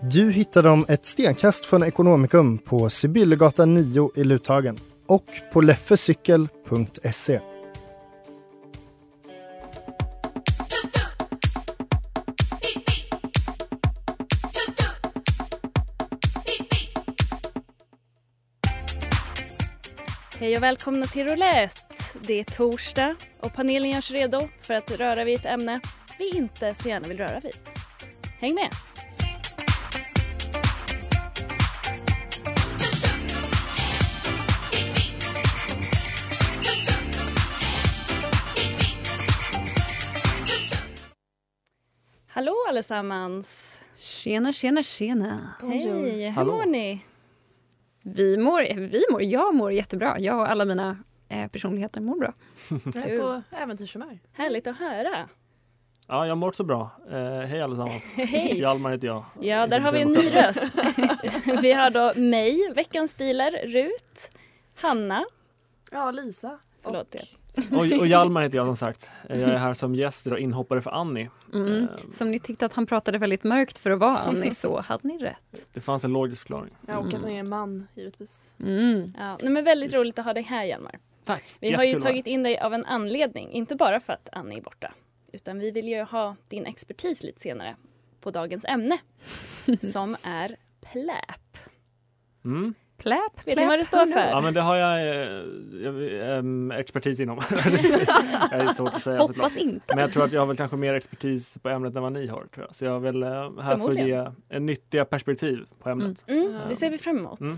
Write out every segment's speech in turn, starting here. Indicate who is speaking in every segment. Speaker 1: Du hittar dem ett stenkast från Ekonomikum på Sibyllegatan 9 i Luthagen och på leffecykel.se.
Speaker 2: Hej och välkomna till Roulette. Det är torsdag och panelen görs redo för att röra vid ett ämne vi inte så gärna vill röra vid. Häng med! Hallå allesammans!
Speaker 3: Tjena, tjena, tjena.
Speaker 2: Hej, hur mår ni?
Speaker 3: Vi mår, vi mår, jag mår jättebra. Jag och alla mina eh, personligheter mår bra.
Speaker 4: Jag är på äventyrshumör.
Speaker 2: Härligt att höra.
Speaker 5: Ja, jag mår också bra. Eh, hej allesammans.
Speaker 2: Hej!
Speaker 5: Hjalmar heter jag.
Speaker 2: Ja, där har vi en ny röst. vi har då mig, veckans dealer, Rut, Hanna.
Speaker 4: Ja, Lisa.
Speaker 2: Förlåt, jag
Speaker 5: Och, och Hjalmar heter jag som sagt. Eh, Jag är här som gäst idag, inhoppare för Annie.
Speaker 3: Mm.
Speaker 5: Eh,
Speaker 3: Som ni tyckte att han pratade väldigt mörkt för att vara Annie så hade ni rätt.
Speaker 5: Det fanns en logisk förklaring.
Speaker 4: Ja, och att
Speaker 3: Mm.
Speaker 4: han är en man, givetvis.
Speaker 3: Mm.
Speaker 2: Ja, nej, men väldigt roligt att ha dig här Hjalmar.
Speaker 5: Tack!
Speaker 2: Vi har ju
Speaker 5: Jättekul att vara
Speaker 2: tagit in dig av en anledning, inte bara för att Annie är borta. Utan vi vill ju ha din expertis lite senare på dagens ämne. som är pläp.
Speaker 5: här. Mm.
Speaker 3: Pläp,
Speaker 2: Vet ni vad det står för?
Speaker 5: Ja, men det har jag, eh, jag eh, expertis inom. det är svårt att säga såklart.
Speaker 3: Hoppas inte.
Speaker 5: Men jag tror att jag har väl kanske mer expertis på ämnet än vad ni har. Tror jag. Så jag är väl eh, här för att ge
Speaker 2: Förmodligen.
Speaker 5: en nyttiga perspektiv på ämnet. Eh,
Speaker 2: Mm, det ser vi fram emot.
Speaker 5: Mm.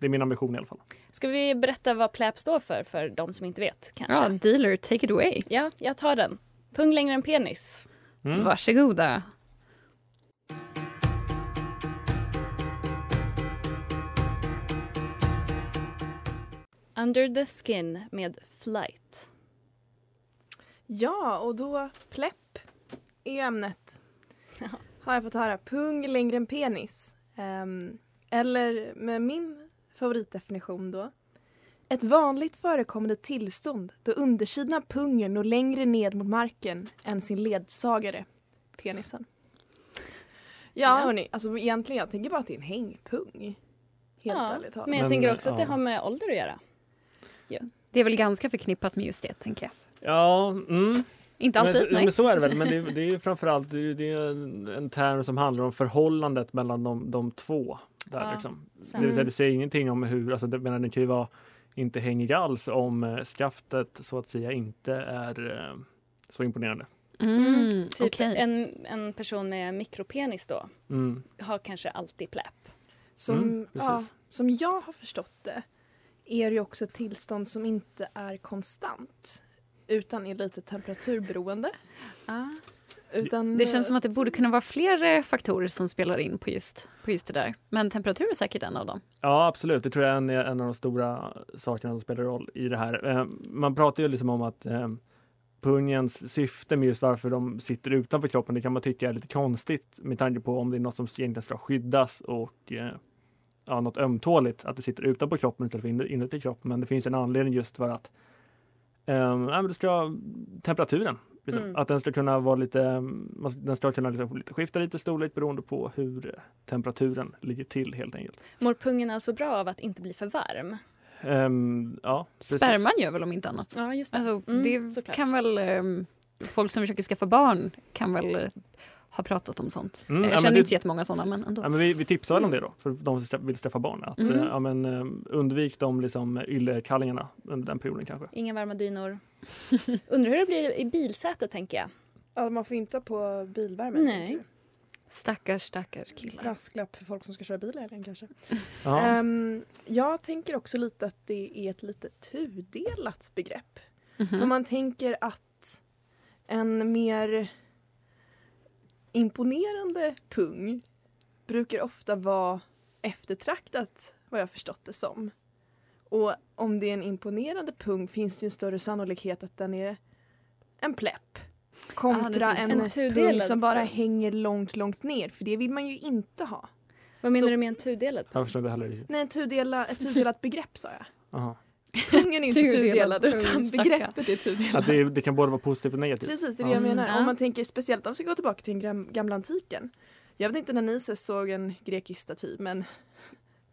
Speaker 5: Det är min ambition i alla fall.
Speaker 2: Ska vi berätta vad pläp står för, för de som inte vet kanske?
Speaker 3: Ja, dealer, take it away.
Speaker 2: ja jag tar den. Pung längre än penis.
Speaker 5: Mm.
Speaker 3: Varsågoda.
Speaker 2: Under the skin med flight.
Speaker 4: Ja, och då plepp i ämnet.
Speaker 2: Ja.
Speaker 4: Har jag fått höra. Pung längre än penis. Ehm, eller med min favoritdefinition då. Ett vanligt förekommande tillstånd då undersidan av pungen når längre ned mot marken än sin ledsagare, penisen. Ja,
Speaker 2: Ja.
Speaker 4: hörni, alltså egentligen jag tänker bara att det är en hängpung. Helt
Speaker 2: Ja,
Speaker 4: ärligt talat.
Speaker 2: Men jag
Speaker 5: Men,
Speaker 2: tänker också att det
Speaker 5: ja.
Speaker 2: har med ålder att göra.
Speaker 3: Det är väl ganska förknippat med just det, tänker jag.
Speaker 5: Ja, mm.
Speaker 3: Inte alltid,
Speaker 5: men, så-
Speaker 3: nej.
Speaker 5: men så är det väl. Men det, är- det är ju framförallt det är, ju- det är en, en term som handlar om förhållandet mellan de, de två. Där,
Speaker 2: Ja,
Speaker 5: liksom. Det
Speaker 2: sant.
Speaker 5: vill säga det säger ingenting om hur, alltså, det, menar, det kan ju vara inte hängig alls om eh, skaftet så att säga inte är eh, så imponerande.
Speaker 3: Mm,
Speaker 2: Typ
Speaker 3: okej.
Speaker 2: en, en person med mikropenis då
Speaker 5: Mm.
Speaker 2: har kanske alltid pläp.
Speaker 4: Som,
Speaker 5: Mm, precis.
Speaker 4: ja, som jag har förstått det är det ju också ett tillstånd som inte är konstant utan är lite temperaturberoende.
Speaker 5: Ah.
Speaker 4: Utan,
Speaker 3: Mm. Det känns som att det borde kunna vara fler eh, faktorer som spelar in på just, på just det där. Men temperatur är säkert en av dem.
Speaker 5: Ja absolut, det tror jag är en, en av de stora sakerna som spelar roll i det här. Eh, Man pratar ju liksom om att eh, pungens syfte med just varför de sitter utanför kroppen, det kan man tycka är lite konstigt med tanke på om det är något som egentligen ska skyddas och eh, ja, något ömtåligt, att det sitter utanpå kroppen istället för in- inuti kroppen. Men det finns en anledning just för att eh, ja, men det ska, temperaturen, liksom.
Speaker 2: Mm.
Speaker 5: att den ska kunna vara lite, eh, man- den ska kunna liksom skifta lite storlek beroende på hur eh, temperaturen ligger till helt enkelt.
Speaker 2: Mår pungen alltså bra av att inte bli för varm?
Speaker 5: Ehm, ja, precis.
Speaker 3: Sperman gör väl om inte annat.
Speaker 2: Ja, just
Speaker 3: Alltså,
Speaker 2: Mm,
Speaker 3: det ehm,
Speaker 2: såklart.
Speaker 3: kan väl... eh, Folk som försöker skaffa barn kan väl eh, har pratat om sånt.
Speaker 5: Mm, ja,
Speaker 3: jag
Speaker 5: men
Speaker 3: känner
Speaker 5: det-
Speaker 3: inte jättemånga sådana, men ändå.
Speaker 5: Ja, men vi, vi tipsar väl om det då, för de som ska- vill skaffa barn. Att,
Speaker 3: Mm.
Speaker 5: eh, ja, men, eh, undvik de liksom, yllekallingarna under den perioden kanske.
Speaker 2: Inga varma dynor. Undrar hur det blir i bilsätet tänker jag.
Speaker 4: Ja, man får inte ha på bilvärmen.
Speaker 2: Nej.
Speaker 4: tänker
Speaker 3: Stackars, stackars killar.
Speaker 4: jag. Brasklapp för folk som ska köra bil i helgen kanske.
Speaker 5: Ja.
Speaker 4: Ehm, jag tänker också lite att det är ett lite tudelat begrepp.
Speaker 3: Mhm.
Speaker 4: För man tänker att en mer imponerande pung brukar ofta vara eftertraktat vad jag förstått det som. Och om det är en imponerande pung finns det ju en större sannolikhet att den är en plepp. Kontra
Speaker 3: finns
Speaker 4: en,
Speaker 2: en
Speaker 4: pung
Speaker 2: tudelad
Speaker 4: som bara
Speaker 2: pung.
Speaker 4: hänger långt, långt ner. För det vill man ju inte ha.
Speaker 2: Vad menar
Speaker 4: Så-
Speaker 2: du med en tudelad?
Speaker 5: Jag förstår inte heller riktigt.
Speaker 4: Nej, en tudela, ett tudelat begrepp sa jag.
Speaker 5: Aha.
Speaker 4: Pungen är inte
Speaker 3: Tudelad
Speaker 4: tudelad utan
Speaker 3: pung, stackarn.
Speaker 4: begreppet är tudelat.
Speaker 5: Att det, det kan både vara positivt och negativt.
Speaker 4: Precis, det är det jag
Speaker 5: Ja.
Speaker 4: menar.
Speaker 3: Mm.
Speaker 4: Om man tänker speciellt om vi ska gå tillbaka till den gram- gamla antiken. Jag vet inte när ni sist såg en grekisk staty men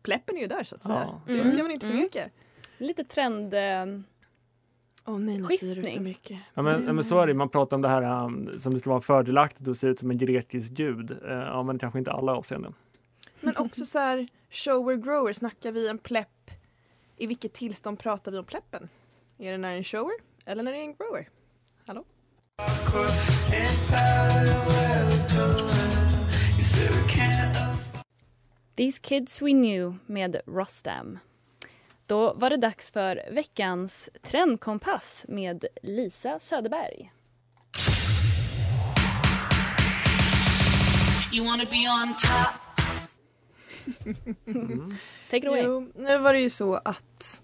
Speaker 4: pleppen är ju där så att säga.
Speaker 5: Ja,
Speaker 4: Det
Speaker 2: Mm.
Speaker 4: ska man inte
Speaker 3: Mm.
Speaker 4: förneka.
Speaker 2: Lite trend... Eh,
Speaker 4: Åh nej, nu säger du för
Speaker 2: Skiftning.
Speaker 4: mycket.
Speaker 5: Ja, men, ja, men så är det, man pratar om det här um, som det ska vara fördelaktigt och se ut som en grekisk gud. Eh, Ja, men kanske inte i alla avseenden.
Speaker 4: Men också så här, shower grower, snackar vi en plepp? I vilket tillstånd pratar vi om pleppen? Är det när det är en shower eller när det är en grower? Hallå?
Speaker 2: These kids we knew med Rostam. Då var det dags för veckans trendkompass med Lisa Söderberg. Take it away.
Speaker 4: Jo, nu var det ju så att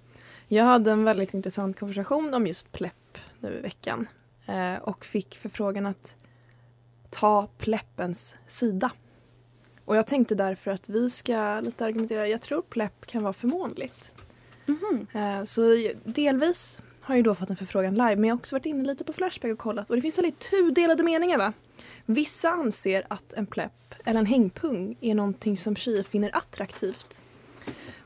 Speaker 4: jag hade en väldigt intressant konversation om just plepp nu i veckan eh, och fick förfrågan att ta pleppens sida. Och jag tänkte därför att vi ska lite argumentera, jag tror plepp kan vara förmånligt.
Speaker 2: Mhm.
Speaker 4: Eh, Så delvis har jag ju då fått en förfrågan live men jag har också varit inne lite på Flashback och kollat och det finns väldigt tudelade meningar va? Vissa anser att en plepp eller en hängpung är någonting som tjejer finner attraktivt.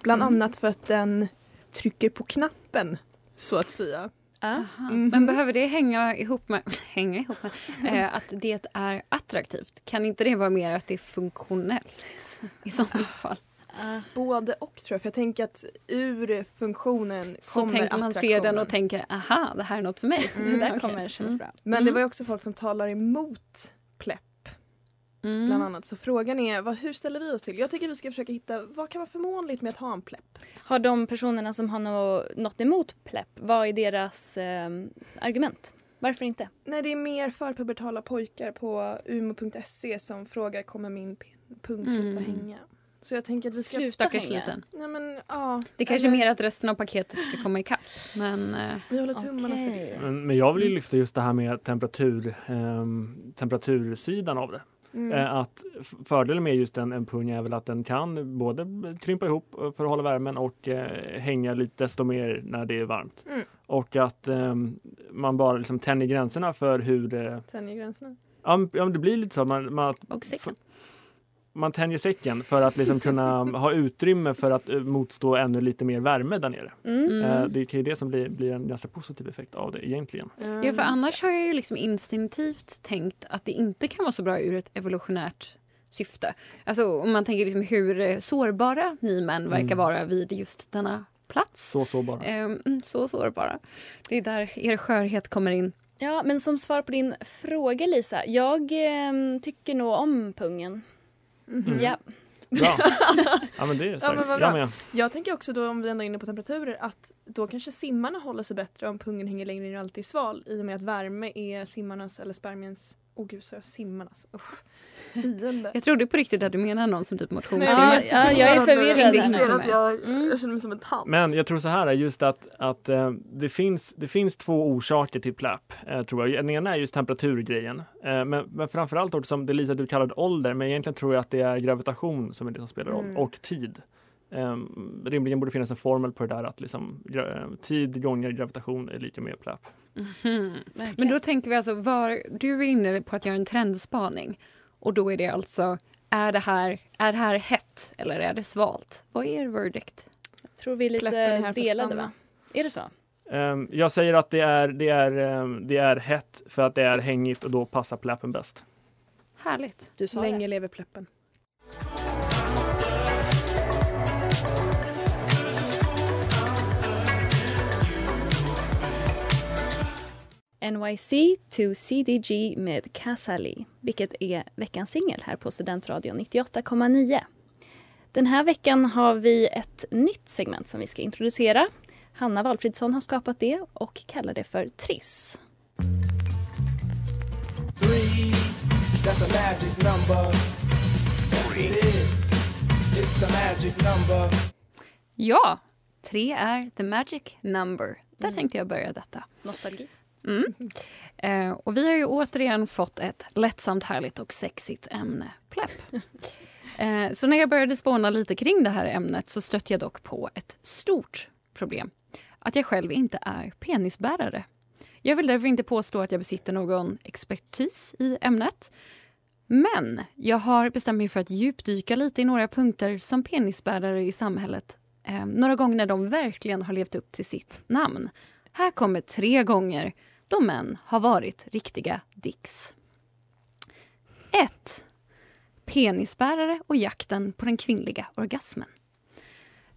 Speaker 4: Bland
Speaker 3: Mm.
Speaker 4: annat för att den trycker på knappen så att säga.
Speaker 3: Aha.
Speaker 4: Mhm.
Speaker 3: Men behöver det hänga ihop med, hänga ihop med eh, att det är attraktivt? Kan inte det vara mer att det är funktionellt i sådana fall? Ah.
Speaker 4: Både och tror jag för jag tänker att ur funktionen
Speaker 3: Så
Speaker 4: kommer
Speaker 3: tänk, man ser den och tänker aha, det här är något för mig.
Speaker 2: Det där kommer
Speaker 3: Okej.
Speaker 2: kännas bra.
Speaker 4: Men det var ju också folk som talar emot plepp
Speaker 3: Mm.
Speaker 4: bland annat. Så frågan är vad, hur ställer vi oss till? Jag tycker vi ska försöka hitta vad kan vara förmånligt med att ha en plepp?
Speaker 2: Har de personerna som har nå- något emot plepp, vad är deras ehm, argument? Varför inte?
Speaker 4: Nej, det är mer förpubertala pojkar på umo.se som frågar kommer min p- pung sluta
Speaker 3: Mm.
Speaker 4: hänga? Så jag tänker att vi ska...
Speaker 2: Slut.
Speaker 3: Stackars
Speaker 2: hänga.
Speaker 3: liten.
Speaker 4: Nej men ja.
Speaker 3: Det kanske är
Speaker 4: Eller-
Speaker 3: mer att resten av paketet ska komma ikapp. Men eh,
Speaker 4: Vi håller tummarna för det.
Speaker 5: Men, men jag vill ju lyfta just det här med temperatur, ehm, temperatursidan av det.
Speaker 4: Mm.
Speaker 5: Eh, Att f- fördelen med just en, en pung är väl att den kan både krympa ihop för att hålla värmen och eh, hänga lite desto mer när det är varmt.
Speaker 4: Mm.
Speaker 5: Och att ehm, man bara liksom tänjer gränserna för hur eh,
Speaker 4: Tänjer gränserna.
Speaker 5: Ja, men- ja men det blir lite så. Man, man,
Speaker 3: Och säcken.
Speaker 5: man tänjer säcken för att liksom kunna ha utrymme för att eh, motstå ännu lite mer värme där nere.
Speaker 2: Mm.
Speaker 3: mm.
Speaker 5: Eh, Det är ju det som blir, blir en ganska positiv effekt av det egentligen.
Speaker 4: Mm,
Speaker 3: ja, för annars har jag ju liksom instinktivt tänkt att det inte kan vara så bra ur ett evolutionärt syfte. Alltså om man tänker liksom hur eh, sårbara ni män verkar
Speaker 5: Mm.
Speaker 3: vara vid just denna plats.
Speaker 5: Så så bara.
Speaker 4: Eh.
Speaker 3: Ehm, mm, så sårbara. Det är där er skörhet kommer in.
Speaker 2: Ja, men som svar på din fråga Lisa, jag ehm, tycker nog om pungen.
Speaker 4: Mhm.
Speaker 2: Ja.
Speaker 5: Bra. Ja men det är starkt.
Speaker 4: men vad bra.
Speaker 5: jag med.
Speaker 4: Jag tänker också då om vi ändå är inne på temperaturer att då kanske simmarna håller sig bättre om pungen hänger längre ner och alltid är sval i och med att värme är simmarnas eller spermiens Åh gud, sa jag simmarnas? Usch. Fiende.
Speaker 3: Jag trodde på riktigt att du menade någon som typ
Speaker 2: Ja,
Speaker 3: motionssimmar.
Speaker 2: ja, jag är förvirrad.
Speaker 4: Jag, inser att jag,
Speaker 2: Mm.
Speaker 4: jag känner mig som en tant.
Speaker 5: Men jag tror så här, just att, att eh, det, finns, det finns två orsaker till plapp, eh, tror jag. Den ena är just temperaturgrejen, eh, men, men framförallt också som det Lisa du kallade ålder, men egentligen tror jag att det är gravitation som är det som spelar roll,
Speaker 4: Mm.
Speaker 5: och tid. Eh, rimligen borde finnas en formel på det där att liksom, gra- eh, tid gånger gravitation är lika med plapp.
Speaker 3: Mhm. Men då tänker vi alltså, var, du är inne på att göra en trendspaning. Och då är det alltså, är det här, är det här hett eller är det svalt? Vad är er verdict?
Speaker 2: Jag tror vi är lite
Speaker 4: Pleppen är här för att
Speaker 2: delade
Speaker 4: stanna.
Speaker 2: va? Är det så?
Speaker 5: Eh, jag säger att det är, det, är, eh, det är hett för att det är hängigt och då passar plappen bäst.
Speaker 3: Härligt.
Speaker 2: Du sa
Speaker 4: Länge
Speaker 2: det.
Speaker 4: lever pleppen.
Speaker 2: NYC to CDG med Casali, vilket är veckans singel här på Studentradion 98,9. Den här veckan har vi ett nytt segment som vi ska introducera. Hanna Valfridsson har skapat det och kallar det för Triss.
Speaker 3: Ja, tre är the magic number. Där
Speaker 2: Mm.
Speaker 3: tänkte jag börja detta.
Speaker 2: Nostalgi.
Speaker 3: Mm. Eh, och vi har ju återigen fått ett lättsamt, härligt och sexigt ämne, plepp. Eh, så när jag började spåna lite kring det här ämnet så stötte jag dock på ett stort problem. Att jag själv inte är penisbärare. Jag vill därför inte påstå att jag besitter någon expertis i ämnet. Men jag har bestämt mig för att djupdyka lite i några punkter som penisbärare i samhället. Eh, några gånger när de verkligen har levt upp till sitt namn. Här kommer tre gånger då män har varit riktiga dicks. 1. Penisbärare och jakten på den kvinnliga orgasmen.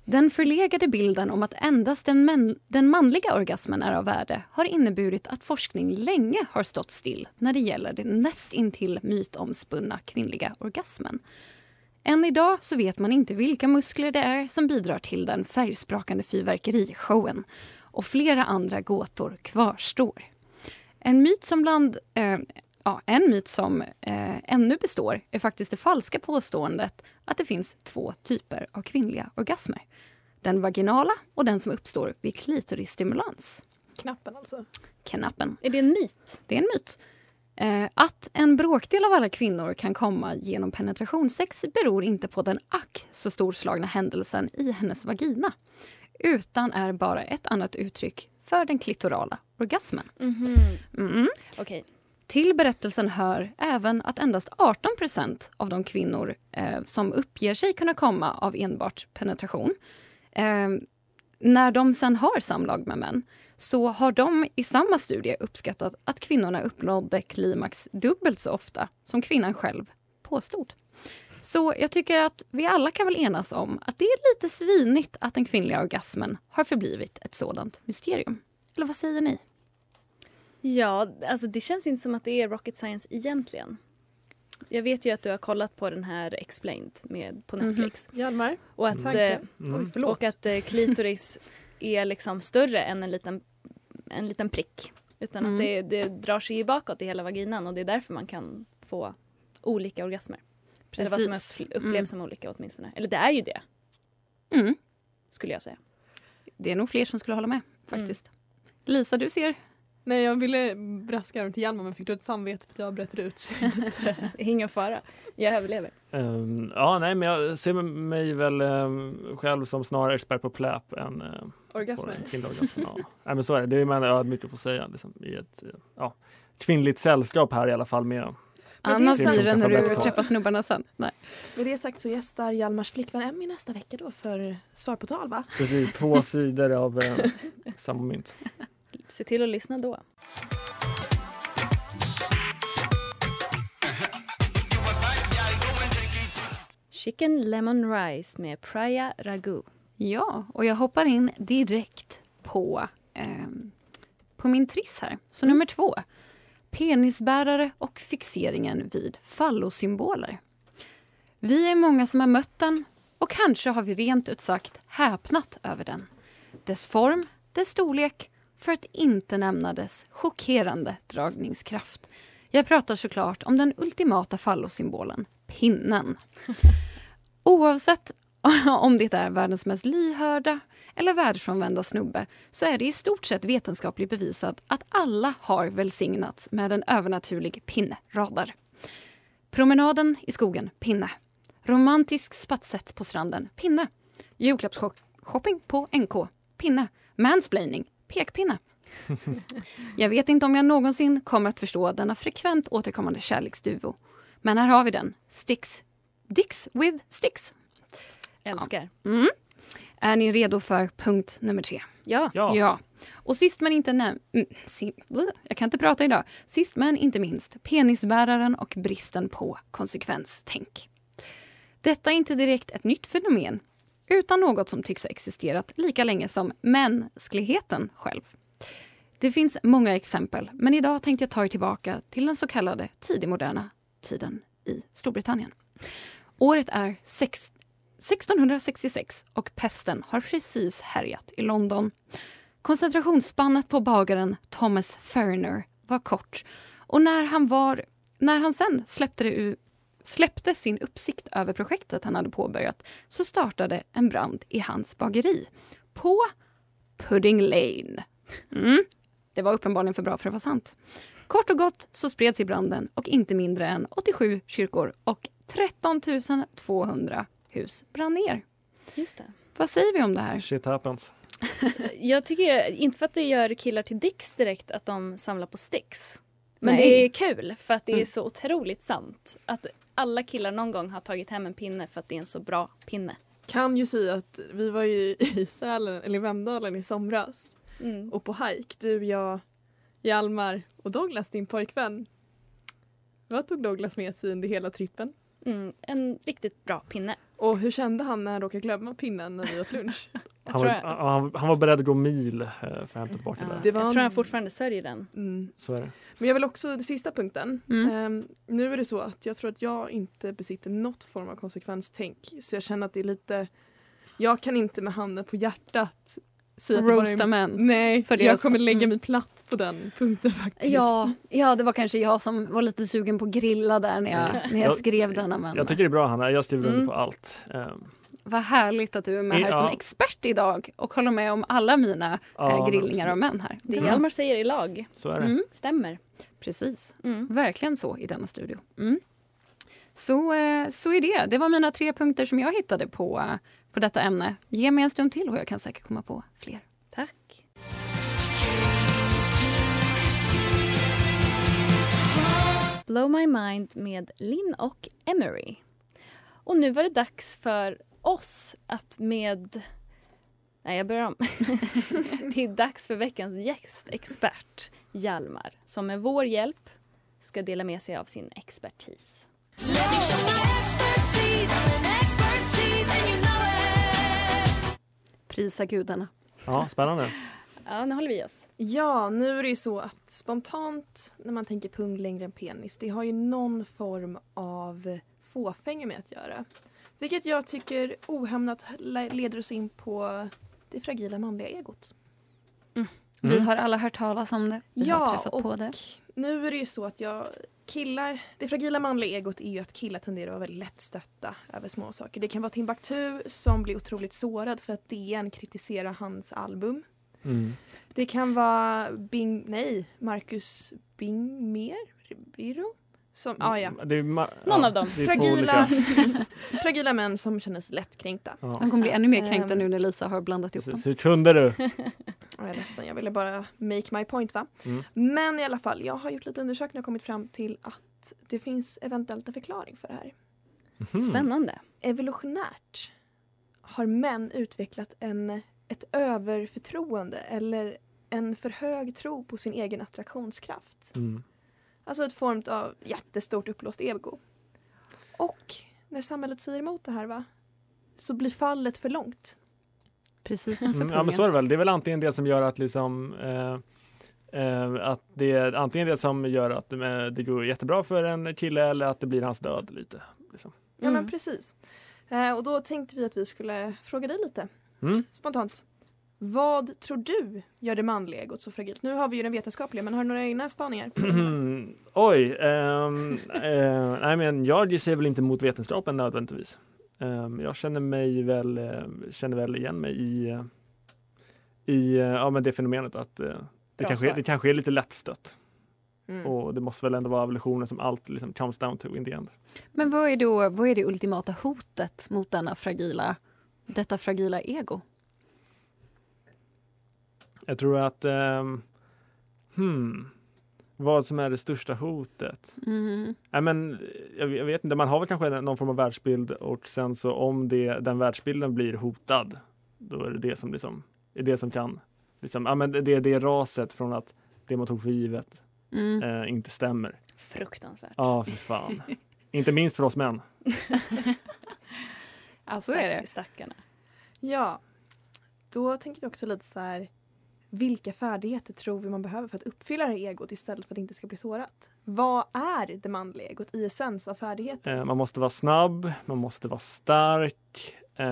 Speaker 3: Den förlegade bilden om att endast den, män, den manliga orgasmen är av värde har inneburit att forskning länge har stått still när det gäller den nästintill mytomspunna kvinnliga orgasmen. Än idag så vet man inte vilka muskler det är som bidrar till den färgsprakande fyrverkerishowen och flera andra gåtor kvarstår. En myt som, bland, eh, ja, en myt som eh, ännu består är faktiskt det falska påståendet att det finns två typer av kvinnliga orgasmer. Den vaginala och den som uppstår vid klitorisstimulans.
Speaker 4: Knappen alltså.
Speaker 3: Knappen.
Speaker 2: Är det en myt?
Speaker 3: Det är en myt. Eh, att en bråkdel av alla kvinnor kan komma genom penetrationssex beror inte på den ack så storslagna händelsen i hennes vagina utan är bara ett annat uttryck för den klitorala orgasmen.
Speaker 2: Mhm.
Speaker 3: Mm.
Speaker 2: Okej.
Speaker 3: Till berättelsen hör även att endast 18 av de kvinnor eh, som uppger sig kunna komma av enbart penetration eh, när de sen har samlag med män så har de i samma studie uppskattat att kvinnorna uppnådde klimax dubbelt så ofta som kvinnan själv påstod. Så jag tycker att vi alla kan väl enas om att det är lite svinigt att den kvinnliga orgasmen har förblivit ett sådant mysterium. Eller vad säger ni?
Speaker 2: Ja, alltså det känns inte som att det är rocket science egentligen. Jag vet ju att du har kollat på den här Explained med, på Netflix.
Speaker 4: Hjalmar?
Speaker 2: Och att,
Speaker 4: Tanke.
Speaker 2: eh,
Speaker 5: Mm.
Speaker 2: och att eh, klitoris är liksom större än en liten, en liten prick. Utan
Speaker 3: Mm.
Speaker 2: att det, det drar sig ju bakåt i hela vaginan och det är därför man kan få olika orgasmer. Eller vad
Speaker 3: Precis.
Speaker 2: som upp- upplevs
Speaker 3: Mm.
Speaker 2: som olika åtminstone. Eller det är ju det,
Speaker 3: Mm.
Speaker 2: skulle jag säga.
Speaker 3: Det är nog fler som skulle hålla med
Speaker 2: Mm.
Speaker 3: faktiskt. Lisa, du ser.
Speaker 6: Nej, jag ville braska dem till Hjalmar men fick dåligt samvete för att jag bröt ut.
Speaker 2: Ingen fara, jag överlever.
Speaker 5: Ehm, ja, nej, men jag ser mig väl ehm, själv som snarare expert på pläp än eh, på
Speaker 6: Orgasmer.
Speaker 5: den kvinnliga orgasmen. ja. nej, men så är det. Det är man ödmjuk att få säga liksom, i ett eh, ja, kvinnligt sällskap här i alla fall med
Speaker 6: Men
Speaker 3: Annars
Speaker 6: det är
Speaker 3: blir det
Speaker 5: sant.
Speaker 3: när du
Speaker 5: Tabletter.
Speaker 3: träffar snubbarna sen. Nej.
Speaker 4: Med det sagt så gästar Hjalmars flickvän Emmy nästa vecka då för Svar på tal va?
Speaker 5: precis två sidor av eh, samma mynt.
Speaker 2: Se till att lyssna då. Chicken Lemon Rice med Praya Ragu.
Speaker 3: Ja, och jag hoppar in direkt på, ehm, på min triss här. Så nummer två. Penisbärare och fixeringen vid fallosymboler. Vi är många som har mött den och kanske har vi rent ut sagt häpnat över den. Dess form, dess storlek, för att inte nämna dess chockerande dragningskraft. Jag pratar såklart om den ultimata fallosymbolen, pinnen. Oavsett om det är världens mest lyhörda eller världsfrånvända snubbe så är det i stort sett vetenskapligt bevisat att alla har välsignats med en övernaturlig pinneradar. Promenaden i skogen, pinne. Romantisk spatset på stranden, pinne. Julklappsshopping på NK, pinne. Mansplaining, pekpinne. jag vet inte om jag någonsin kommer att förstå denna frekvent återkommande kärleksduo. Men här har vi den. Sticks. Dicks with sticks.
Speaker 2: Älskar.
Speaker 3: Mm. Är ni redo för punkt nummer tre?
Speaker 2: Ja.
Speaker 5: Ja.
Speaker 3: Ja. Och sist men inte näm- mm, si- bleh, jag kan inte prata idag. Sist men inte minst, penisbäraren och bristen på konsekvenstänk. Detta är inte direkt ett nytt fenomen utan något som tycks ha existerat lika länge som mänskligheten själv. Det finns många exempel, men idag tänkte jag ta er tillbaka till den så kallade tidigmoderna tiden i Storbritannien. Året är sex- 1666 och pesten har precis härjat i London. Koncentrationsspannet på bagaren Thomas Ferner var kort och när han, var, när han sen släppte, det u- släppte sin uppsikt över projektet han hade påbörjat så startade en brand i hans bageri på Pudding Lane. Mm. Det var uppenbarligen för bra för att vara sant. Kort och gott så spreds i branden och inte mindre än 87 kyrkor och 13 200 hus brann ner.
Speaker 2: Just det.
Speaker 3: Vad säger vi om det här?
Speaker 5: Shit happens.
Speaker 2: Jag tycker inte för att det gör killar till dicks direkt att de samlar på sticks. Men
Speaker 3: Nej.
Speaker 2: det är kul för att det är
Speaker 3: Mm.
Speaker 2: så otroligt sant. Att alla killar någon gång har tagit hem en pinne för att det är en så bra pinne.
Speaker 4: Kan ju säga att vi var ju i Sälen, eller i Vemdalen i somras och på hajk. Du, jag, Hjalmar och Douglas, din pojkvän. Vad tog Douglas med sig under hela trippen?
Speaker 2: Mm, en riktigt bra pinne.
Speaker 4: Och hur kände han när han råkade glömma pinnen när vi åt lunch?
Speaker 5: Han var,
Speaker 2: tror jag-
Speaker 5: han, han var beredd att gå mil eh, för att hämta tillbaka det.
Speaker 4: Det
Speaker 2: det
Speaker 4: var
Speaker 2: Jag tror
Speaker 4: en-
Speaker 2: han fortfarande sörjer den.
Speaker 4: Mm.
Speaker 5: Så är det.
Speaker 4: Men jag vill också, den sista punkten.
Speaker 3: Mm.
Speaker 4: Ehm, nu är det så att jag tror att jag inte besitter något form av konsekvenstänk. Så jag känner att det är lite, jag kan inte med handen på hjärtat säga att det bara är
Speaker 3: Roasta män.
Speaker 4: Nej,
Speaker 3: För
Speaker 4: jag
Speaker 3: deras-
Speaker 4: kommer lägga
Speaker 3: Mm.
Speaker 4: mig platt på den punkten faktiskt.
Speaker 3: Ja, ja, det var kanske jag som var lite sugen på att grilla där när jag, när jag
Speaker 5: Jag-
Speaker 3: skrev denna. Men
Speaker 5: Jag tycker det är bra Hanna, jag skriver under
Speaker 3: Mm.
Speaker 5: på allt. Eh,
Speaker 3: Vad härligt att du är med här
Speaker 5: Ja.
Speaker 3: som expert idag och håller med om alla mina
Speaker 5: ja,
Speaker 3: eh,
Speaker 5: men
Speaker 3: grillningar av
Speaker 5: absolut.
Speaker 3: män här.
Speaker 2: Det
Speaker 3: Mm.
Speaker 2: Hjalmar säger i lag
Speaker 5: Så är det.
Speaker 3: Mm,
Speaker 2: stämmer.
Speaker 3: precis,
Speaker 2: Mm.
Speaker 3: verkligen så i denna studio. Mm. Så, eh, så är det. Det var mina tre punkter som jag hittade på, eh, på detta ämne. Ge mig en stund till och jag kan säkert komma på fler.
Speaker 2: Tack. Blow My Mind med Linn och Emery. Och nu var det dags för oss att med... Nej, jag börjar om. det är dags för veckans gästexpert, Hjalmar, som med vår hjälp ska dela med sig av sin expertis.
Speaker 3: Prisa gudarna.
Speaker 5: Ja, spännande.
Speaker 2: Ja, nu håller vi oss.
Speaker 4: Ja, nu är det ju så att spontant när man tänker pung längre än penis, det har ju någon form av fåfänga med att göra. Vilket jag tycker ohämmat le- leder oss in på det fragila manliga egot.
Speaker 3: Vi
Speaker 5: Mm.
Speaker 3: har alla hört talas om det. Vi har träffat på det.
Speaker 4: nu är det ju så att jag killar, det fragila manliga egot är ju att killar tenderar att vara väldigt lättstötta över små saker. Det kan vara Timbuktu som blir otroligt sårad för att DN kritiserar hans album.
Speaker 5: Mm.
Speaker 4: Det kan vara Bing, nej, Marcus Bingmer? Biro? Som, ah, ja.
Speaker 5: Det är ma-
Speaker 2: Någon
Speaker 5: ja,
Speaker 2: av dem.
Speaker 5: Mm, Det är två
Speaker 4: Fragila,
Speaker 5: olika.
Speaker 4: fragila män som känner sig lättkränkta.
Speaker 5: Ja.
Speaker 3: De kommer bli ännu mer kränkta
Speaker 4: Ehm,
Speaker 3: nu när Lisa har blandat ihop dem.
Speaker 5: Precis. Hur kunde du?
Speaker 4: Ja, Jag är ledsen, jag ville bara make my point va.
Speaker 5: Mm.
Speaker 4: Men i alla fall, jag har gjort lite undersökningar och kommit fram till att det finns eventuellt en förklaring för det här.
Speaker 5: Mhm.
Speaker 2: Spännande.
Speaker 4: Evolutionärt har män utvecklat en, ett överförtroende eller en för hög tro på sin egen attraktionskraft.
Speaker 5: Mm.
Speaker 4: Alltså ett form av jättestort uppblåst ego. Och när samhället säger emot det här va, så blir fallet för långt.
Speaker 3: Precis som för
Speaker 5: Mm, ja men
Speaker 3: pungen.
Speaker 5: så är det väl. Det är väl antingen det som gör att liksom eh, eh, att det är antingen det som gör att eh, det går jättebra för en kille eller att det blir hans död lite.
Speaker 4: Ja
Speaker 2: Mm.
Speaker 4: men precis. Eh, och då tänkte vi att vi skulle fråga dig lite
Speaker 5: Mm.
Speaker 4: spontant. Vad tror du gör det manliga egot så fragilt? Nu har vi ju den vetenskapliga men har du några egna spaningar?
Speaker 5: Oj, ehm, eh, nej men jag ser väl inte emot vetenskapen nödvändigtvis. Ehm, jag känner mig väl, eh, känner väl igen mig i, eh, i eh, ja, men det fenomenet att eh, det,
Speaker 2: Bra
Speaker 5: kanske,
Speaker 2: svar.
Speaker 5: det kanske är lite lättstött
Speaker 4: Mm.
Speaker 5: och det måste väl ändå vara evolutionen som allt liksom comes down to in the end.
Speaker 3: Men vad är, då, vad är det ultimata hotet mot denna fragila, detta fragila ego?
Speaker 5: Jag tror att ehm, hmm, vad som är det största hotet?
Speaker 3: Mm.
Speaker 5: Nej, men, jag, jag vet inte, man har väl kanske någon form av världsbild och sen så om det, den världsbilden blir hotad Då är det det som liksom, är det som kan, liksom, ja men det är det raset från att det man tog för givet
Speaker 3: Mm.
Speaker 5: eh, inte stämmer.
Speaker 2: Fruktansvärt.
Speaker 5: Ja, för fan. inte minst för oss män.
Speaker 3: så är det.
Speaker 2: Stack- Stackarna.
Speaker 4: Ja, då tänker vi också lite så här. Vilka färdigheter tror vi man behöver för att uppfylla det här egot istället för att det inte ska bli sårat? Vad är det manliga egot i essens av färdigheter?
Speaker 5: Eh, man måste vara snabb, man måste vara stark, eh,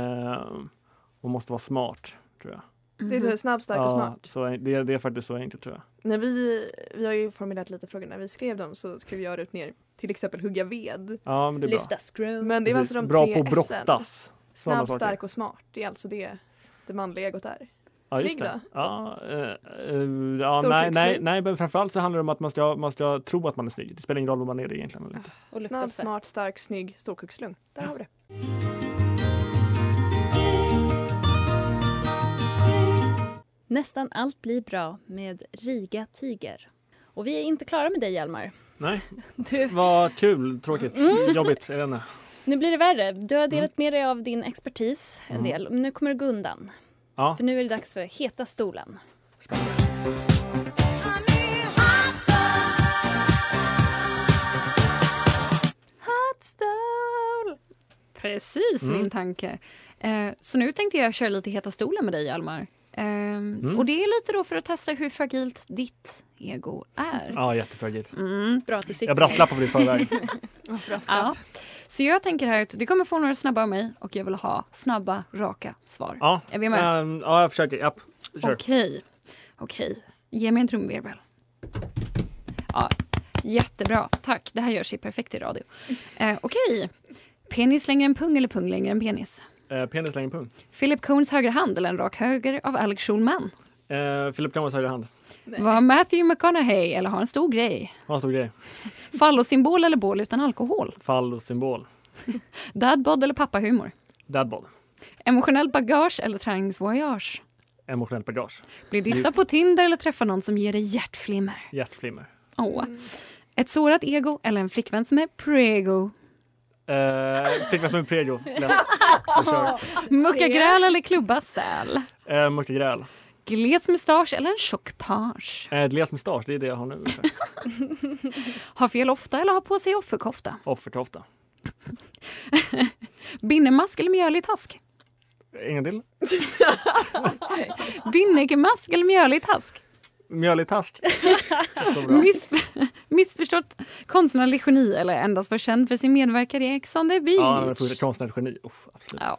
Speaker 5: man måste vara smart tror jag.
Speaker 3: mm.
Speaker 4: Det är så här snabb, stark och
Speaker 5: Mhm. Ja,
Speaker 4: smart.
Speaker 5: Så är, det, det är faktiskt så enkelt tror jag.
Speaker 4: När vi, vi har ju formulerat lite frågor. När vi skrev dem så skrev jag ut ner till exempel hugga ved.
Speaker 5: Ja, men det är bra.
Speaker 2: Lyfta screw.
Speaker 4: Men det var alltså
Speaker 5: Precis.
Speaker 4: de
Speaker 5: bra
Speaker 4: tre
Speaker 5: på att
Speaker 4: essen.
Speaker 5: brottas. Sådana
Speaker 4: Snabb,
Speaker 5: saker.
Speaker 4: stark och smart. Det är alltså det det manliga egot är.
Speaker 5: Ja, just
Speaker 4: Snygg
Speaker 5: det.
Speaker 4: då?
Speaker 5: Ja, eh, eh, ja,
Speaker 4: Stor
Speaker 5: nej,
Speaker 4: kuk,
Speaker 5: nej,
Speaker 4: snygg.
Speaker 5: nej, men framförallt så handlar det om att man ska, man ska tro att man är snygg. Det spelar ingen roll vad man är egentligen. Eller inte.
Speaker 2: Och lukta
Speaker 4: Snabb,
Speaker 2: svett.
Speaker 4: smart, stark, snygg, storkukslugn. Där har vi det.
Speaker 2: Nästan allt blir bra med Riga Tiger. Och vi är inte klara med dig Hjalmar.
Speaker 5: Nej,
Speaker 2: Du,
Speaker 5: vad kul, tråkigt,
Speaker 4: Mm.
Speaker 5: jobbigt. Jag vet inte.
Speaker 2: nu blir det värre. Du har delat
Speaker 5: Mm.
Speaker 2: med dig av din expertis en del. Men nu kommer du gå undan.
Speaker 5: Ja.
Speaker 2: För nu är det dags för Heta stolen.
Speaker 3: Precis
Speaker 5: Mm.
Speaker 3: min tanke. Eh, så nu tänkte jag köra lite Heta stolen med dig, Almar. Eh, Och det är lite då för att testa hur fragilt ditt ego är.
Speaker 5: Ja, jättefragigt.
Speaker 3: Mm.
Speaker 2: Bra att du sitter
Speaker 5: Jag brasklappar på det i förväg.
Speaker 3: Ja. Så jag tänker här att du kommer få några snabba av mig och jag vill ha snabba, raka svar.
Speaker 5: Ja,
Speaker 3: Är vi med?
Speaker 5: ehm, ja jag försöker. Japp, kör.
Speaker 3: Okej. Okej. Ge mig en trumvirvel. Ja, jättebra. Tack. Det här gör sig perfekt i radio. Eh, Okej. Penis längre än pung eller pung längre än penis?
Speaker 5: Eh, penis längre pung.
Speaker 3: Philip Cohns högra hand eller en rak höger av Alex Schulman?
Speaker 5: Eh, Philip Cameras högra hand.
Speaker 3: Var Matthew McConaughey eller ha en stor grej?
Speaker 5: Ha en stor grej.
Speaker 3: Fallosymbol eller bål utan alkohol?
Speaker 5: Fallosymbol.
Speaker 3: Dadbod eller pappahumor?
Speaker 5: Dadbod.
Speaker 3: Emotionell bagage eller träningsvoyage?
Speaker 5: Emotionellt bagage.
Speaker 3: Bli dissad på Tinder eller träffa någon som ger dig hjärtflimmer?
Speaker 5: Hjärtflimmer.
Speaker 3: Åh. Ett sårat ego eller en flickvän som är prego?
Speaker 5: Eh, Fick mig som en prego. Lätt. Vi kör.
Speaker 3: Mucka gräl eller klubba säl?
Speaker 5: Eh, Mucke Gräl.
Speaker 3: Gles mustasch eller en tjock page?
Speaker 5: Eh, Gles mustasch, det är det jag har nu. ungefär.
Speaker 3: Ha fel ofta eller ha på sig offerkofta?
Speaker 5: Offerkofta.
Speaker 3: Binnemask eller mjölig task?
Speaker 5: Ingen till?
Speaker 3: Binnekemask eller mjölig task?
Speaker 5: Mjölig task. Så bra.
Speaker 3: Missf- missförstått konstnärlig geni eller endast var känd för sin medverkan i Ex on the beach?
Speaker 5: Ja, men fortsätt konstnärligt geni. Uff, absolut. Eh,
Speaker 3: Ja.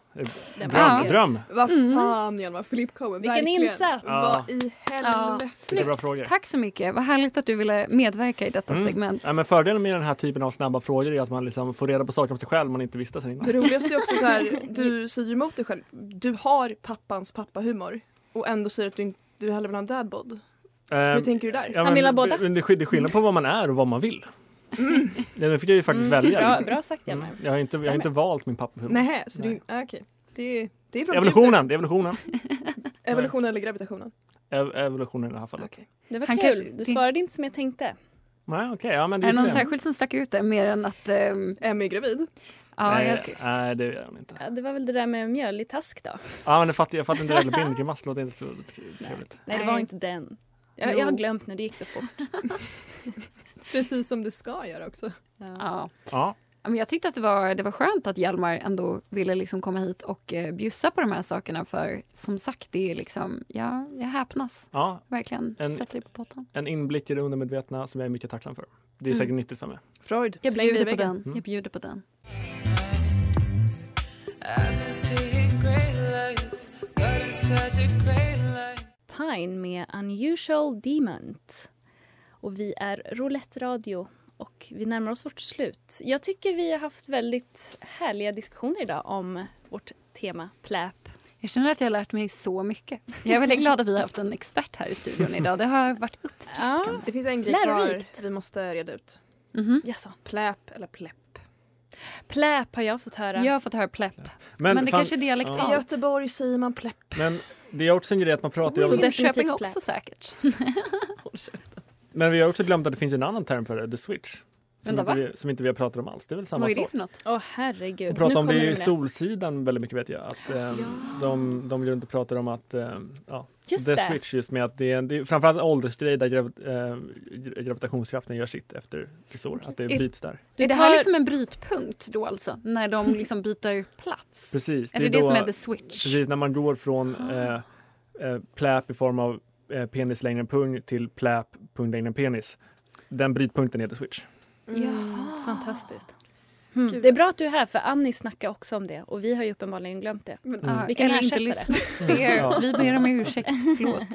Speaker 2: Den
Speaker 5: Dröm,
Speaker 2: var-
Speaker 5: dröm.
Speaker 4: Vad
Speaker 3: Mm.
Speaker 5: Mm.
Speaker 4: fan Hjalmar, Filip kommer
Speaker 2: Vilken
Speaker 4: verkligen.
Speaker 2: insats.
Speaker 4: Vad i helvete.
Speaker 5: Vilka bra frågor.
Speaker 3: Tack så mycket. Vad härligt att du ville medverka i detta
Speaker 5: Mm.
Speaker 3: segment.
Speaker 5: Ja, men fördelen med den här typen av snabba frågor är att man liksom får reda på saker om sig själv man inte visste sen innan.
Speaker 4: Det roligaste är också så här, du säger ju emot dig själv. Du har pappans pappahumor och ändå säger att du inte du hellre vill ha en dadbod. Hur
Speaker 5: Eh,
Speaker 4: tänker du där?
Speaker 5: ja,
Speaker 2: Han vill ha
Speaker 5: men
Speaker 2: båda.
Speaker 5: Det det är skill- det är skillnad på vad man är och vad man vill. Ja, Nu fick jag ju faktiskt välja.
Speaker 2: Mm. Bra,
Speaker 5: liksom.
Speaker 2: bra sagt Hjalmar.
Speaker 5: Mm. Jag, har inte, jag har inte valt min pappa.
Speaker 4: Nej, så
Speaker 5: Nej.
Speaker 4: det, ah, okej. det, det är från Gud.
Speaker 5: Evolutionen, det är evolutionen.
Speaker 4: Evolutionen eller gravitationen.
Speaker 5: Ev- evolutionen i det här fallet.
Speaker 2: Det var
Speaker 3: Han
Speaker 2: kul.
Speaker 3: kanske-
Speaker 2: Du svarade inte som jag tänkte.
Speaker 5: Nej, okej. ja, men det
Speaker 3: Är det
Speaker 5: just
Speaker 3: någon
Speaker 5: det.
Speaker 3: särskild som stack ut där mer än att... ehm,
Speaker 4: Emmy är gravid.
Speaker 3: ja,
Speaker 5: nej,
Speaker 3: jag ska,
Speaker 5: nej, det gör hon inte.
Speaker 2: Ja, det var väl det där med mjölig task då.
Speaker 5: Ja, men jag fattar, jag fattar inte det där med bindgrimas. låter inte så trevligt.
Speaker 2: Nej, det
Speaker 3: Nej.
Speaker 2: var inte den. Jag,
Speaker 3: Jo.
Speaker 2: jag har glömt när det gick så fort.
Speaker 4: Precis som du ska göra också.
Speaker 3: ja.
Speaker 5: Ja,
Speaker 3: Ja, Men jag tyckte att det var, det var skönt att Hjalmar ändå ville liksom komma hit och eh, bjussa på de här sakerna för som sagt, det är liksom, ja, jag häpnas.
Speaker 5: ja,
Speaker 3: Verkligen.
Speaker 5: En-
Speaker 3: Sätter dig på pottan.
Speaker 5: en inblick i det undermedvetna som jag är mycket tacksam för. Det är
Speaker 3: Mm.
Speaker 5: säkert nyttigt för mig.
Speaker 4: Freud.
Speaker 3: Jag
Speaker 4: släng dig i
Speaker 3: bjuder på
Speaker 4: väggen.
Speaker 3: den.
Speaker 5: Mm.
Speaker 3: Jag bjuder på den.
Speaker 2: Pine med Unusual Demont. Och vi är Roulette Radio och vi närmar oss vårt slut. Jag tycker vi har haft väldigt härliga diskussioner idag om vårt tema pläp.
Speaker 3: Jag känner att jag har lärt mig så mycket. Jag är väldigt glad att vi har haft en expert här i studion idag. Det har varit
Speaker 2: Ja,
Speaker 3: uppfriskande.
Speaker 4: Det finns en grej kvar
Speaker 2: Lärorikt.
Speaker 4: vi måste reda ut.
Speaker 3: Mhm.
Speaker 2: jaså.
Speaker 4: Pläp eller pläpp.
Speaker 2: Pläp har jag fått höra.
Speaker 3: Jag har fått höra plepp.
Speaker 5: Men,
Speaker 3: Men, det
Speaker 5: fan,
Speaker 3: kanske är
Speaker 4: I
Speaker 3: dialektalt.
Speaker 4: Göteborg säger man pläpp.
Speaker 5: men det är också en grej att man pratar ju
Speaker 2: Så
Speaker 5: om,
Speaker 2: det-
Speaker 3: Jönköping
Speaker 2: definitivt
Speaker 3: också säkert.
Speaker 5: Men vi har också glömt att det finns en annan term för det, the switch. Som,
Speaker 2: Vänta,
Speaker 5: inte vi, som inte vi har pratat om alls. Det är väl samma
Speaker 3: Vad är det
Speaker 5: sak.
Speaker 3: för något?
Speaker 2: Åh herregud.
Speaker 5: Och prata om
Speaker 2: kommer
Speaker 5: det i
Speaker 2: du med.
Speaker 5: Solsidan väldigt mycket vet jag. Att, eh, de, de går runt och pratar om att eh, ja,
Speaker 2: Just
Speaker 5: The
Speaker 2: det.
Speaker 5: Switch just med att det är, det är framförallt åldersgrej där grav, eh, gra- gravitationskraften gör sitt efter ett år. Att det
Speaker 3: Är-
Speaker 5: byts där.
Speaker 2: Du
Speaker 3: är det här
Speaker 2: tar-
Speaker 3: liksom en brytpunkt då alltså? När de liksom byter plats?
Speaker 5: Precis.
Speaker 3: Är det det, som är the switch?
Speaker 5: Precis, när man går från eh, eh, pläp i form av eh, penis längre än pung till pläp, pung längre än penis. Den brytpunkten heter switch.
Speaker 4: Mm,
Speaker 3: Jaha. Fantastiskt.
Speaker 2: Mm. Det är bra att du är här för Annie snackar också om det och vi har ju uppenbarligen glömt det.
Speaker 3: Men,
Speaker 5: Mm.
Speaker 3: ah,
Speaker 2: Vi kan
Speaker 3: eller inte
Speaker 2: ersätta
Speaker 3: lyssna. Det är, vi ber om ursäkt. Förlåt.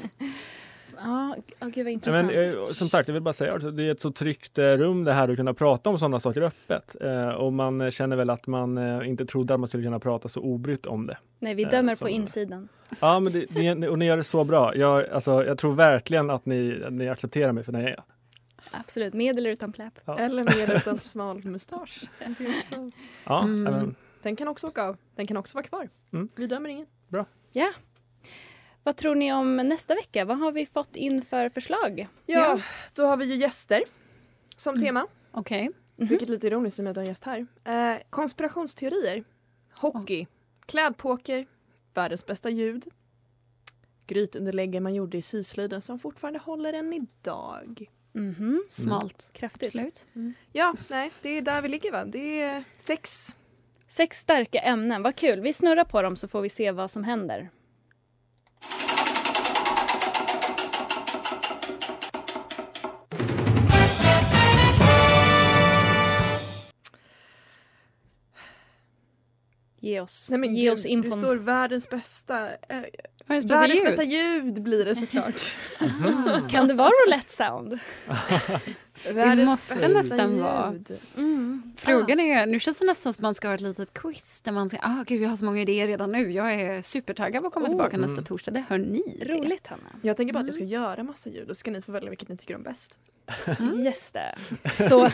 Speaker 2: Ja, oh, gud vad
Speaker 5: Ja, Men,
Speaker 2: intressant.
Speaker 5: eh, som sagt, jag vill bara säga att det är ett så tryggt eh, rum det här att kunna prata om sådana saker öppet. Eh, och man eh, känner väl att man eh, inte trodde att man skulle kunna prata så obrytt om det.
Speaker 2: Nej, vi
Speaker 5: eh,
Speaker 2: dömer
Speaker 5: som-
Speaker 2: på insidan.
Speaker 5: Ja, men det, det, och ni gör det så bra. Jag, alltså, jag tror verkligen att ni, att ni accepterar mig för den jag är.
Speaker 2: Absolut, med eller utan pläp.
Speaker 5: Ja.
Speaker 4: Eller med utan smal mustasch. Det är också-
Speaker 5: Ja,
Speaker 3: Mm.
Speaker 5: men,
Speaker 4: Den kan också åka av. Den kan också vara kvar.
Speaker 5: Mm.
Speaker 4: Vi dömer ingen.
Speaker 2: Vad tror ni om nästa vecka? Vad har vi fått in för förslag?
Speaker 4: Ja,
Speaker 2: Ja.
Speaker 4: då har vi ju gäster som tema.
Speaker 5: Mm.
Speaker 3: Okej.
Speaker 4: Vilket är lite ironiskt i och med att jag är gäst här. Eh, konspirationsteorier. Hockey. Klädpoker. Världens bästa ljud. Grytunderläggen man gjorde i syslöjden som fortfarande håller än idag.
Speaker 2: Mhm,
Speaker 3: Smalt.
Speaker 2: Kraftigt.
Speaker 3: Slut.
Speaker 4: Ja, nej, det är där vi ligger va? Det är sex.
Speaker 2: Sex starka ämnen, vad kul. Vi snurrar på dem så får vi se vad som händer. Ge oss,
Speaker 4: Nej, men
Speaker 2: ge
Speaker 4: gud,
Speaker 2: oss
Speaker 4: Det
Speaker 2: infon.
Speaker 4: står världens bästa. eh,
Speaker 3: Världens bästa
Speaker 4: världens
Speaker 3: ljud.
Speaker 4: bästa ljud blir det såklart.
Speaker 2: Kan det vara roulette sound?
Speaker 4: världens
Speaker 3: måste nästan vara.
Speaker 4: Mm.
Speaker 2: Ah,
Speaker 3: Frågan är, nu känns det nästan som att man ska ha ett litet quiz där man säger ah, gud jag har så många idéer redan nu. Jag är supertaggad på att komma
Speaker 2: Oh.
Speaker 3: tillbaka nästa
Speaker 5: Mm.
Speaker 3: torsdag. Det hör ni.
Speaker 2: Ah,
Speaker 3: det.
Speaker 2: roligt, Hanna.
Speaker 4: Jag tänker bara att jag ska göra massa ljud och så ska ni få välja vilket ni tycker om bäst.
Speaker 5: Mm.
Speaker 2: Yes, det. Så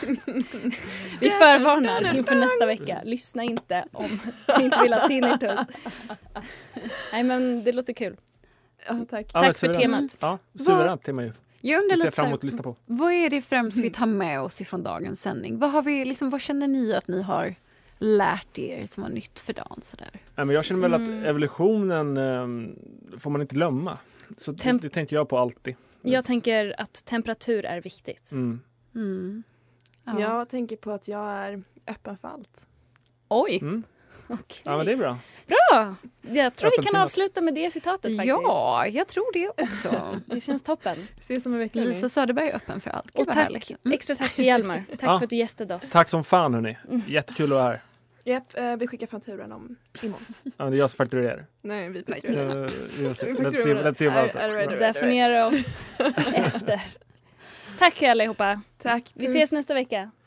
Speaker 2: vi förvarnar inför nästa vecka. Lyssna inte om du inte vill ha tinnitus. Nej, men det låter kul.
Speaker 5: Mm.
Speaker 4: Ja, tack.
Speaker 5: ja, men
Speaker 2: Tack för
Speaker 5: suveränt.
Speaker 2: temat.
Speaker 5: Ja,
Speaker 3: Vad-
Speaker 5: suveränt tema ju.
Speaker 3: Mm. Jag undrar
Speaker 5: Det ser
Speaker 3: lite,
Speaker 5: Mm. jag fram emot att
Speaker 3: så här,
Speaker 5: lyssna på.
Speaker 3: vad är det främst vi tar med oss ifrån dagens sändning? Vad, har vi, liksom, vad känner ni att ni har lärt er som var nytt för dagen? Sådär?
Speaker 5: Nej, men jag känner väl
Speaker 2: Mm.
Speaker 5: att evolutionen eh, får man inte glömma. Så det,
Speaker 2: Temp-
Speaker 5: det tänker jag på alltid.
Speaker 2: Jag tänker att temperatur är viktigt.
Speaker 5: Mm.
Speaker 3: Mm. Ja.
Speaker 4: Jag tänker på att jag är öppen för allt.
Speaker 3: Oj!
Speaker 5: Mm.
Speaker 2: Okej.
Speaker 5: Ja, men det är bra.
Speaker 2: Bra! Jag tror vi kan
Speaker 5: Apelsinat.
Speaker 2: avsluta med det citatet faktiskt.
Speaker 3: Ja, jag tror det också.
Speaker 2: Det känns toppen.
Speaker 4: Ses om en vecka. hörni.
Speaker 3: Lisa Söderberg är öppen för allt. Gud,
Speaker 2: Och
Speaker 3: vad
Speaker 2: tack,
Speaker 3: härligt. Mm.
Speaker 2: extra tack till Hjalmar. Tack
Speaker 5: Ja.
Speaker 2: för att du gästade oss.
Speaker 5: Tack som fan hörni.
Speaker 2: Mm.
Speaker 5: Jättekul att vara här.
Speaker 4: Japp, eh, vi skickar fakturan om imorgon.
Speaker 5: Ja, det är jag som fakturerar.
Speaker 4: Nej, vi
Speaker 5: Eh,
Speaker 4: fakturerar.
Speaker 5: vi får se. Let's see- let's see about
Speaker 4: Är- är du redo?
Speaker 5: that.
Speaker 2: Där får ni göra om efter. Tack allihopa.
Speaker 4: Tack.
Speaker 2: Vi ses nästa vecka.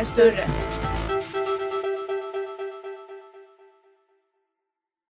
Speaker 4: är större.